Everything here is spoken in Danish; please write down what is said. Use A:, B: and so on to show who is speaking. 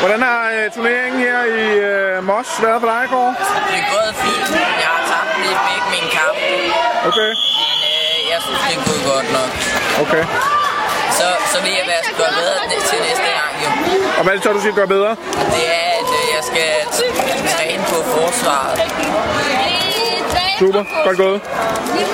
A: Hvordan har øh, turneringen her i øh, Mos været for dig i går?
B: Det er gået fint. Jeg har tabt lige begge mine kampe,
A: Okay,
B: men øh, jeg synes, det er gået godt nok.
A: okay.
B: Så, så vil jeg være gået bedre næ- til næste gang, jo.
A: Og hvad er det så, du skal gøre bedre?
B: Det er, at øh, jeg skal t- træne på forsvaret.
A: Super, godt gået.